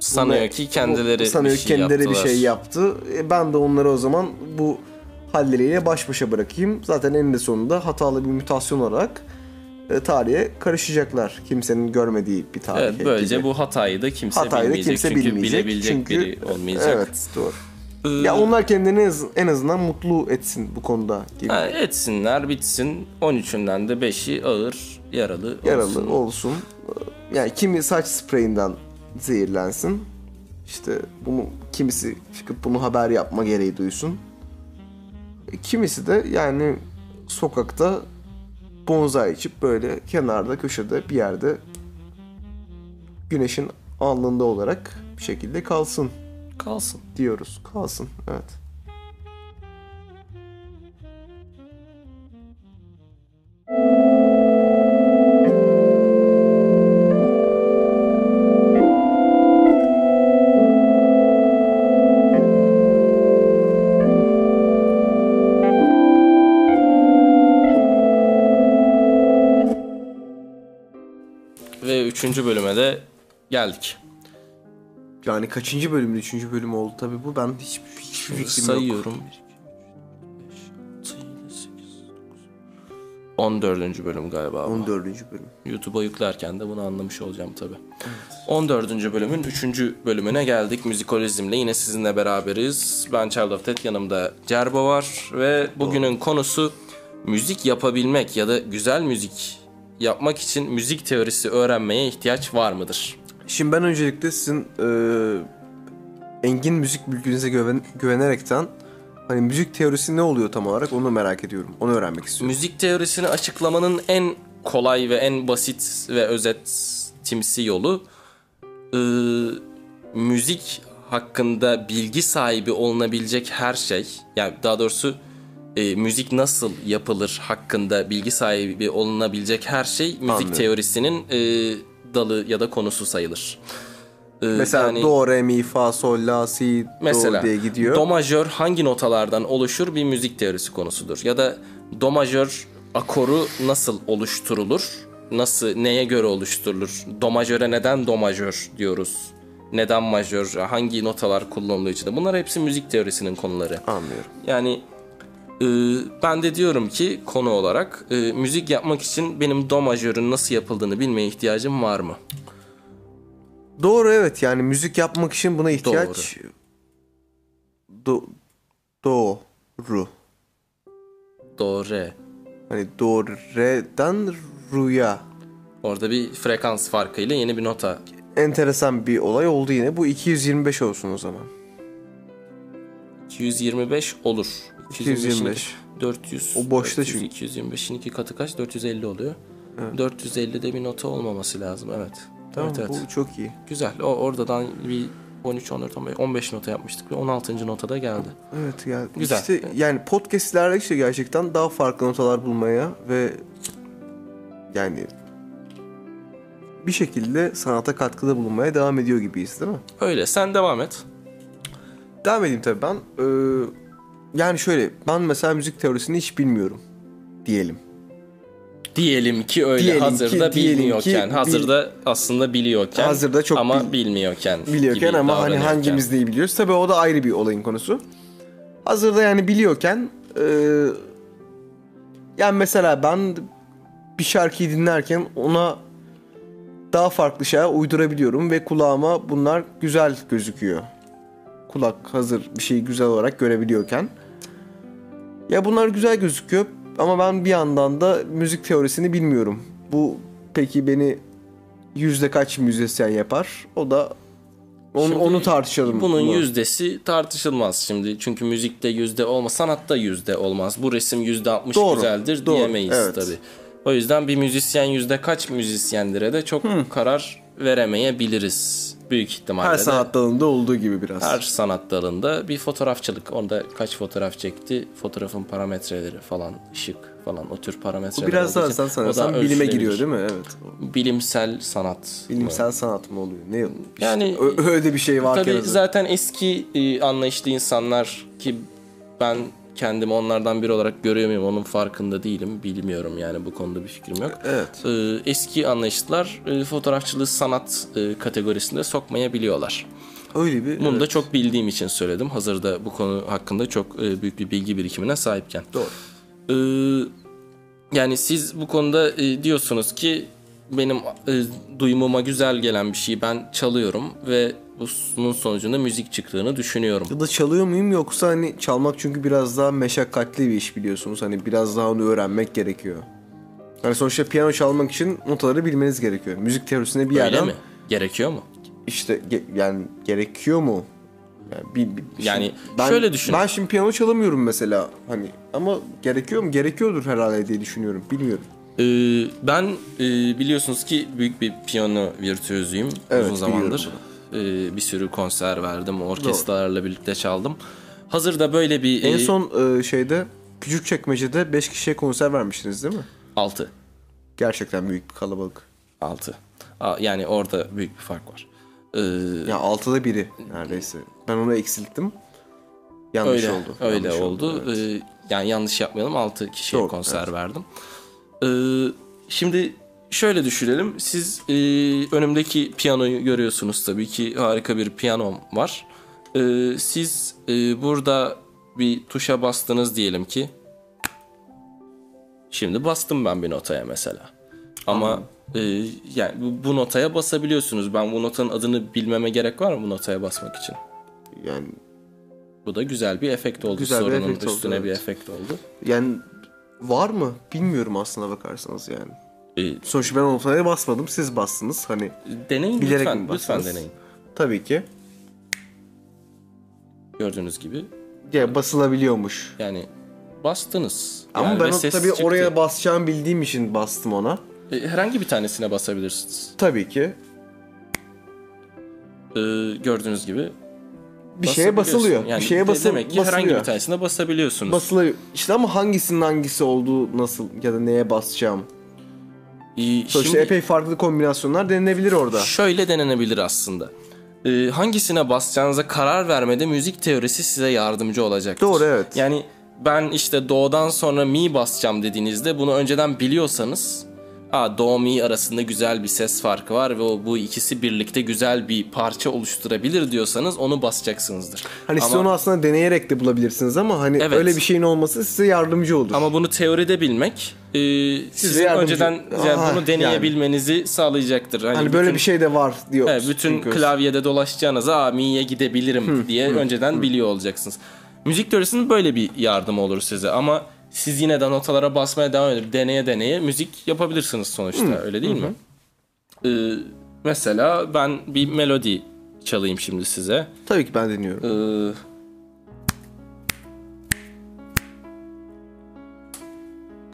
Speaker 1: sanıyor
Speaker 2: bunu-
Speaker 1: ki kendileri
Speaker 2: sanıyor
Speaker 1: bir
Speaker 2: ki
Speaker 1: şey
Speaker 2: kendileri bir
Speaker 1: yaptılar.
Speaker 2: şey yaptı. E, ben de onları o zaman bu halleriyle baş başa bırakayım. Zaten eninde sonunda hatalı bir mütasyon olarak e, tarihe karışacaklar. Kimsenin görmediği bir tarihe.
Speaker 1: Evet, böylece
Speaker 2: gibi.
Speaker 1: bu hatayı da kimse
Speaker 2: hatayı da
Speaker 1: bilmeyecek.
Speaker 2: kimse
Speaker 1: çünkü
Speaker 2: bilmeyecek.
Speaker 1: bilebilecek
Speaker 2: çünkü
Speaker 1: biri olmayacak.
Speaker 2: Evet, doğru.
Speaker 1: Ee,
Speaker 2: Ya onlar kendini en az- en azından mutlu etsin bu konuda gibi.
Speaker 1: ha, etsinler bitsin. 13'ünden de 5'i ağır yaralı,
Speaker 2: Yaralı
Speaker 1: olsun.
Speaker 2: olsun. Yani kimi saç spreyinden zehirlensin. İşte bunu kimisi çıkıp bunu haber yapma gereği duysun. E, Kimisi de yani sokakta bonzai içip böyle kenarda köşede bir yerde güneşin alnında olarak bir şekilde kalsın
Speaker 1: Kalsın.
Speaker 2: diyoruz. Kalsın evet.
Speaker 1: Ve 3. bölüme de geldik.
Speaker 2: Yani kaçıncı bölümdü? Üçüncü bölüm oldu tabii bu. Ben hiç, hiçbir fikrim yok.
Speaker 1: Sayıyorum. 14. bölüm galiba. bu.
Speaker 2: 14. bölüm.
Speaker 1: YouTube'a yüklerken de bunu anlamış olacağım tabii. 14. bölümün 3. bölümüne geldik. Müzikolizmle yine sizinle beraberiz. Ben Child of Death, yanımda Cerbo var ve bugünün konusu müzik yapabilmek ya da güzel müzik yapmak için müzik teorisi öğrenmeye ihtiyaç var mıdır?
Speaker 2: Şimdi ben öncelikle sizin eee, engin müzik bilginize güven- güvenerekten hani müzik teorisi ne oluyor tam olarak onu merak ediyorum. Onu öğrenmek istiyorum.
Speaker 1: Müzik teorisini açıklamanın en kolay ve en basit ve özetimsi yolu e, müzik hakkında bilgi sahibi olunabilecek her şey yani daha doğrusu e, müzik nasıl yapılır hakkında bilgi sahibi olunabilecek her şey müzik
Speaker 2: Anlıyorum.
Speaker 1: teorisinin e, dalı ya da konusu sayılır. E,
Speaker 2: Mesela
Speaker 1: yani-
Speaker 2: do, re, mi, fa, sol, la, si,
Speaker 1: Mesela
Speaker 2: do diye gidiyor.
Speaker 1: do majör hangi notalardan oluşur bir müzik teorisi konusudur. Ya da do majör akoru nasıl oluşturulur? Nasıl neye göre oluşturulur? Do majöre neden do majör diyoruz? Neden majör? Hangi notalar kullanılıyor içinde? Bunlar hepsi müzik teorisinin konuları.
Speaker 2: Anlıyorum.
Speaker 1: Yani e, ben de diyorum ki konu olarak e, müzik yapmak için benim do majörün nasıl yapıldığını bilmeye ihtiyacım var mı?
Speaker 2: Doğru evet yani müzik yapmak için buna ihtiyaç Do- doğru.
Speaker 1: Do re.
Speaker 2: Hani do, re'den ru'ya.
Speaker 1: Orada bir frekans farkıyla yeni bir nota
Speaker 2: Enteresan bir olay oldu yine. Bu 225 olsun o zaman.
Speaker 1: 225 olur.
Speaker 2: 225.
Speaker 1: 400.
Speaker 2: O boşta çünkü.
Speaker 1: 225'in iki katı kaç? 450 oluyor. 450'de bir nota olmaması lazım. Evet.
Speaker 2: Tamam
Speaker 1: evet, evet.
Speaker 2: bu çok iyi.
Speaker 1: Güzel. O oradan bir 13, 14, 15, 15 nota yapmıştık ve 16. notada geldi.
Speaker 2: Evet yani
Speaker 1: Güzel.
Speaker 2: işte yani podcastlerde işte gerçekten daha farklı notalar bulmaya ve yani bir şekilde sanata katkıda bulunmaya devam ediyor gibiyiz değil mi?
Speaker 1: Öyle sen devam et.
Speaker 2: Devam edeyim tabii ben. Ee, yani şöyle ben mesela müzik teorisini hiç bilmiyorum diyelim.
Speaker 1: Diyelim ki öyle
Speaker 2: Diyelim ki-
Speaker 1: hazırda
Speaker 2: diyelim
Speaker 1: bilmiyorken,
Speaker 2: ki bil-
Speaker 1: hazırda aslında biliyorken
Speaker 2: Hazırda çok
Speaker 1: ama
Speaker 2: bil-
Speaker 1: bilmiyorken
Speaker 2: Biliyorken
Speaker 1: gibi
Speaker 2: ama hani
Speaker 1: davranıyorken.
Speaker 2: hangimiz neyi biliyoruz. Tabii o da ayrı bir olayın konusu. Hazırda yani biliyorken eee, yani mesela ben bir şarkıyı dinlerken ona daha farklı şeyler uydurabiliyorum ve kulağıma bunlar güzel gözüküyor. Kulak hazır bir şeyi güzel olarak görebiliyorken. Ya bunlar güzel gözüküyor ama ben bir yandan da müzik teorisini bilmiyorum. Bu peki beni yüzde kaç müzisyen yapar? O da onu,
Speaker 1: Şimdi
Speaker 2: onu tartışalım.
Speaker 1: Bunun
Speaker 2: Bunu.
Speaker 1: yüzdesi tartışılmaz şimdi. Çünkü müzikte yüzde olmaz, sanatta yüzde olmaz. Bu resim yüzde altmış
Speaker 2: Doğru,
Speaker 1: güzeldir
Speaker 2: doğru,
Speaker 1: diyemeyiz
Speaker 2: evet.
Speaker 1: tabii. O yüzden bir müzisyen yüzde kaç müzisyendire de çok karar veremeyebiliriz. Büyük ihtimalle
Speaker 2: her
Speaker 1: de.
Speaker 2: sanat dalında olduğu gibi biraz.
Speaker 1: Her sanat dalında bir fotoğrafçılık. Onda kaç fotoğraf çekti, fotoğrafın parametreleri falan, ışık falan o tür parametreler.
Speaker 2: Biraz
Speaker 1: olduğu
Speaker 2: daha
Speaker 1: için
Speaker 2: sen
Speaker 1: o da
Speaker 2: sanırsam bilime
Speaker 1: ölçülebilir.
Speaker 2: giriyor değil mi? Evet.
Speaker 1: Bilimsel sanat.
Speaker 2: Bilimsel sanat mı oluyor? Ne işte
Speaker 1: Yani- e,
Speaker 2: ö- öyle bir şey var
Speaker 1: Tabii
Speaker 2: ki.
Speaker 1: zaten eski e, anlayışlı insanlar ki ben kendimi onlardan biri olarak görüyor muyum onun farkında değilim. Bilmiyorum yani bu konuda bir fikrim yok.
Speaker 2: Evet.
Speaker 1: E, eski anlayışlar e, fotoğrafçılığı sanat e, kategorisinde sokmayabiliyorlar.
Speaker 2: Öyle bir
Speaker 1: Bunu da çok bildiğim için söyledim. Hazırda bu konu hakkında çok e, büyük bir bilgi birikimine sahipken.
Speaker 2: Doğru.
Speaker 1: Ee, yani siz bu konuda e, diyorsunuz ki benim e, duyumuma güzel gelen bir şeyi ben çalıyorum ve bunun sonucunda müzik çıktığını düşünüyorum.
Speaker 2: Ya da çalıyor muyum yoksa hani çalmak çünkü biraz daha meşakkatli bir iş biliyorsunuz. Hani biraz daha onu öğrenmek gerekiyor. Yani sonuçta piyano çalmak için notaları bilmeniz gerekiyor. Müzik teorisine bir
Speaker 1: Öyle
Speaker 2: yerden
Speaker 1: mi? Gerekiyor mu?
Speaker 2: işte ge- yani gerekiyor mu? Yani, bir- bir-
Speaker 1: Yani
Speaker 2: şimdi ben,
Speaker 1: şöyle düşün.
Speaker 2: Ben şimdi piyano çalamıyorum mesela hani ama gerekiyor mu? Gerekiyordur herhalde diye düşünüyorum. Bilmiyorum.
Speaker 1: Ee, ben e, biliyorsunuz ki büyük bir piyano virtüözüyüm
Speaker 2: Evet,
Speaker 1: uzun zamandır. Ee, bir sürü konser verdim, orkestralarla birlikte çaldım. Hazırda böyle bir
Speaker 2: En
Speaker 1: e,
Speaker 2: son e, şeyde küçük çekmecede 5 kişiye konser vermiştiniz değil mi?
Speaker 1: altı.
Speaker 2: Gerçekten büyük bir kalabalık.
Speaker 1: 6. Yani orada büyük bir fark var. Ee,
Speaker 2: Ya altıda biri neredeyse. Ben onu eksilttim. Yanlış
Speaker 1: öyle
Speaker 2: oldu.
Speaker 1: öyle
Speaker 2: Yanlış
Speaker 1: oldu.
Speaker 2: evet.
Speaker 1: Ee, yani yanlış yapmayalım. 6 kişiye
Speaker 2: Doğru,
Speaker 1: konser verdim. Ee, şimdi şöyle düşünelim. Siz e, önümdeki piyanoyu görüyorsunuz tabii ki harika bir piyanom var. Ee, siz e, burada bir tuşa bastınız diyelim ki. Şimdi bastım ben bir notaya mesela. Ama e, yani bu, bu notaya basabiliyorsunuz. Ben bu notanın adını bilmeme gerek var mı bu notaya basmak için?
Speaker 2: Yani
Speaker 1: Bu da güzel bir efekt oldu.
Speaker 2: Güzel bir
Speaker 1: Sorunun
Speaker 2: efekt oldu,
Speaker 1: üstüne
Speaker 2: evet.
Speaker 1: bir efekt oldu.
Speaker 2: yani var mı? Bilmiyorum aslında bakarsanız yani.
Speaker 1: Ee,
Speaker 2: Sonuçta ben ortaya basmadım. Siz bastınız. Hani
Speaker 1: deneyin
Speaker 2: bilerek mi
Speaker 1: lütfen.
Speaker 2: bastınız?
Speaker 1: Lütfen deneyin.
Speaker 2: Tabii ki.
Speaker 1: Gördüğünüz gibi.
Speaker 2: Ya basılabiliyormuş.
Speaker 1: Yani bastınız.
Speaker 2: Ama
Speaker 1: Yani
Speaker 2: ben
Speaker 1: ve
Speaker 2: o-
Speaker 1: ses
Speaker 2: tabii
Speaker 1: çıktı.
Speaker 2: oraya basacağımı bildiğim için bastım ona.
Speaker 1: Ee, herhangi bir tanesine basabilirsiniz.
Speaker 2: Tabii ki.
Speaker 1: Ee, gördüğünüz gibi.
Speaker 2: Bir şeye basılıyor.
Speaker 1: Yani
Speaker 2: bir şeye
Speaker 1: de-
Speaker 2: basıl-
Speaker 1: Demek ki herhangi
Speaker 2: basılıyor.
Speaker 1: bir tanesine basabiliyorsunuz.
Speaker 2: Basılıyor. İşte ama hangisinin hangisi olduğu nasıl ya da neye basacağım.
Speaker 1: Ee,
Speaker 2: Sonuçta
Speaker 1: şimdi-
Speaker 2: epey farklı kombinasyonlar denenebilir orada.
Speaker 1: Şöyle denenebilir aslında. Ee, hangisine basacağınıza karar vermede müzik teorisi size yardımcı olacaktır.
Speaker 2: Doğru, evet.
Speaker 1: Yani ben işte do'dan sonra mi basacağım dediğinizde bunu önceden biliyorsanız ha do mi arasında güzel bir ses farkı var ve o, bu ikisi birlikte güzel bir parça oluşturabilir diyorsanız onu basacaksınızdır.
Speaker 2: Hani siz
Speaker 1: Ama-
Speaker 2: onu aslında deneyerek de bulabilirsiniz ama hani
Speaker 1: Evet.
Speaker 2: öyle bir şeyin olması size yardımcı olur.
Speaker 1: Ama bunu teoride bilmek e, sizin
Speaker 2: yardımcı-
Speaker 1: önceden yani
Speaker 2: Aha,
Speaker 1: bunu deneyebilmenizi sağlayacaktır.
Speaker 2: hani böyle
Speaker 1: bütün-
Speaker 2: bir şey de var diyor.
Speaker 1: Evet, bütün
Speaker 2: Çünkü-
Speaker 1: klavyede dolaşacağınız aa mi'ye gidebilirim diye önceden biliyor olacaksınız. Müzik teorisinin böyle bir yardımı olur size ama siz yine de notalara basmaya devam edip deneye deneye müzik yapabilirsiniz sonuçta öyle değil mi? Ee, mesela ben bir melodi çalayım şimdi size.
Speaker 2: Tabii ki ben deniyorum.
Speaker 1: Ee,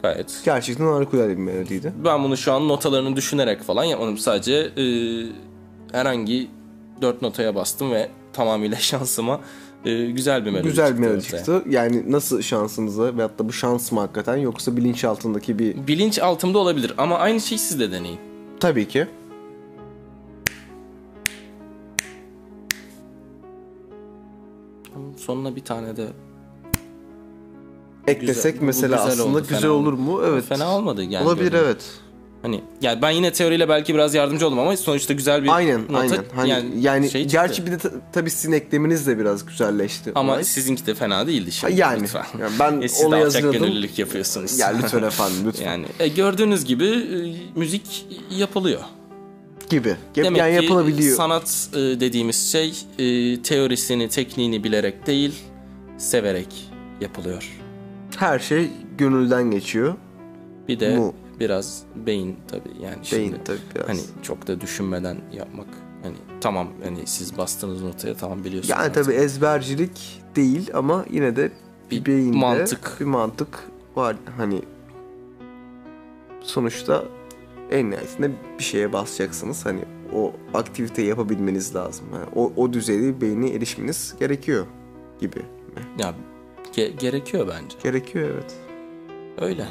Speaker 1: gayet
Speaker 2: Gerçekten harikulade bir melodiydi.
Speaker 1: ben bunu şu an notalarını düşünerek falan yapmadım. Sadece e, herhangi dört notaya bastım ve tamamıyla [LAUGHS] şansıma e, güzel bir melodi
Speaker 2: Güzel bir
Speaker 1: çıktı
Speaker 2: melodi
Speaker 1: ortaya.
Speaker 2: çıktı. Yani nasıl şansınıza veyahut da bu şans mı hakikaten yoksa bilinç altındaki bir...
Speaker 1: Bilinç altımda olabilir ama aynı şeyi siz de deneyin.
Speaker 2: Tabii ki.
Speaker 1: Sonuna bir tane de
Speaker 2: Eklesek
Speaker 1: Güzel. Bu
Speaker 2: mesela
Speaker 1: güzel
Speaker 2: aslında
Speaker 1: oldu,
Speaker 2: güzel
Speaker 1: fena
Speaker 2: olur mu? Evet.
Speaker 1: fena olmadı yani.
Speaker 2: Olabilir
Speaker 1: Böyle.
Speaker 2: evet.
Speaker 1: Hani yani ben yine teoriyle belki biraz yardımcı oldum ama sonuçta güzel bir
Speaker 2: Aynen
Speaker 1: nota,
Speaker 2: aynen. Hani, yani
Speaker 1: şey çıktı.
Speaker 2: gerçi bir de ta- tabii sizin ekleminiz de biraz güzelleşti.
Speaker 1: ama
Speaker 2: olay.
Speaker 1: sizinki de fena değildi şimdi.
Speaker 2: yani,
Speaker 1: lütfen.
Speaker 2: yani ben
Speaker 1: E, siz de
Speaker 2: onu
Speaker 1: alçak
Speaker 2: hazırladım.
Speaker 1: gönüllülük yapıyorsunuz.
Speaker 2: Ya lütfen efendim lütfen
Speaker 1: Yani e, gördüğünüz gibi e, müzik yapılıyor.
Speaker 2: gibi.
Speaker 1: Demek
Speaker 2: yani
Speaker 1: ki
Speaker 2: yapılabiliyor.
Speaker 1: sanat e, dediğimiz şey e, teorisini, tekniğini bilerek değil, severek yapılıyor.
Speaker 2: Her şey gönülden geçiyor.
Speaker 1: Bir de
Speaker 2: Mu.
Speaker 1: biraz beyin tabii yani
Speaker 2: Beyin
Speaker 1: şimdi
Speaker 2: tabii biraz.
Speaker 1: hani çok da düşünmeden yapmak hani tamam hani siz bastığınız notaya tamam biliyorsunuz.
Speaker 2: yani
Speaker 1: artık.
Speaker 2: tabii ezbercilik değil ama yine de bir
Speaker 1: Bir
Speaker 2: beyinde
Speaker 1: mantık.
Speaker 2: bir mantık var. Hani sonuçta en nihayetinde bir şeye basacaksınız. Hani o aktiviteyi yapabilmeniz lazım. Yani o, o düzeyde beyni erişmeniz gerekiyor gibi.
Speaker 1: ya ge- gerekiyor bence.
Speaker 2: Gerekiyor evet.
Speaker 1: Öyle.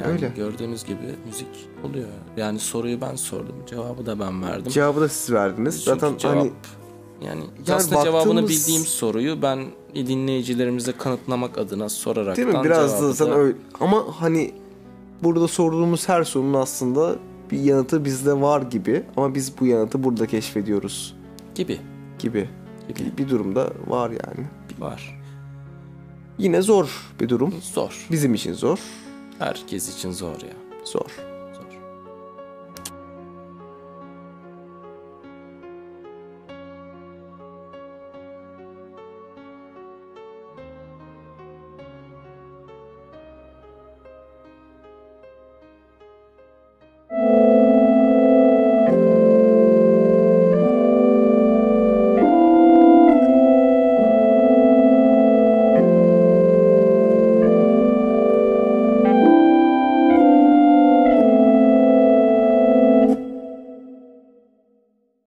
Speaker 1: Yani
Speaker 2: Öyle.
Speaker 1: gördüğünüz gibi müzik oluyor. Yani soruyu ben sordum, cevabı da ben verdim.
Speaker 2: Cevabı da siz verdiniz.
Speaker 1: Çünkü
Speaker 2: Zaten
Speaker 1: cevap-
Speaker 2: hani
Speaker 1: Yani, aslında cevabını
Speaker 2: baktığımız-
Speaker 1: bildiğim soruyu ben dinleyicilerimize kanıtlamak adına sorarak
Speaker 2: Değil mi? Biraz da sen öyle. Ama hani burada sorduğumuz her sorunun aslında bir yanıtı bizde var gibi ama biz bu yanıtı burada keşfediyoruz
Speaker 1: gibi
Speaker 2: gibi
Speaker 1: gibi
Speaker 2: bir, bir durumda var yani.
Speaker 1: var.
Speaker 2: Yine zor bir durum.
Speaker 1: Zor.
Speaker 2: Bizim için zor.
Speaker 1: Herkes için zor ya.
Speaker 2: Zor.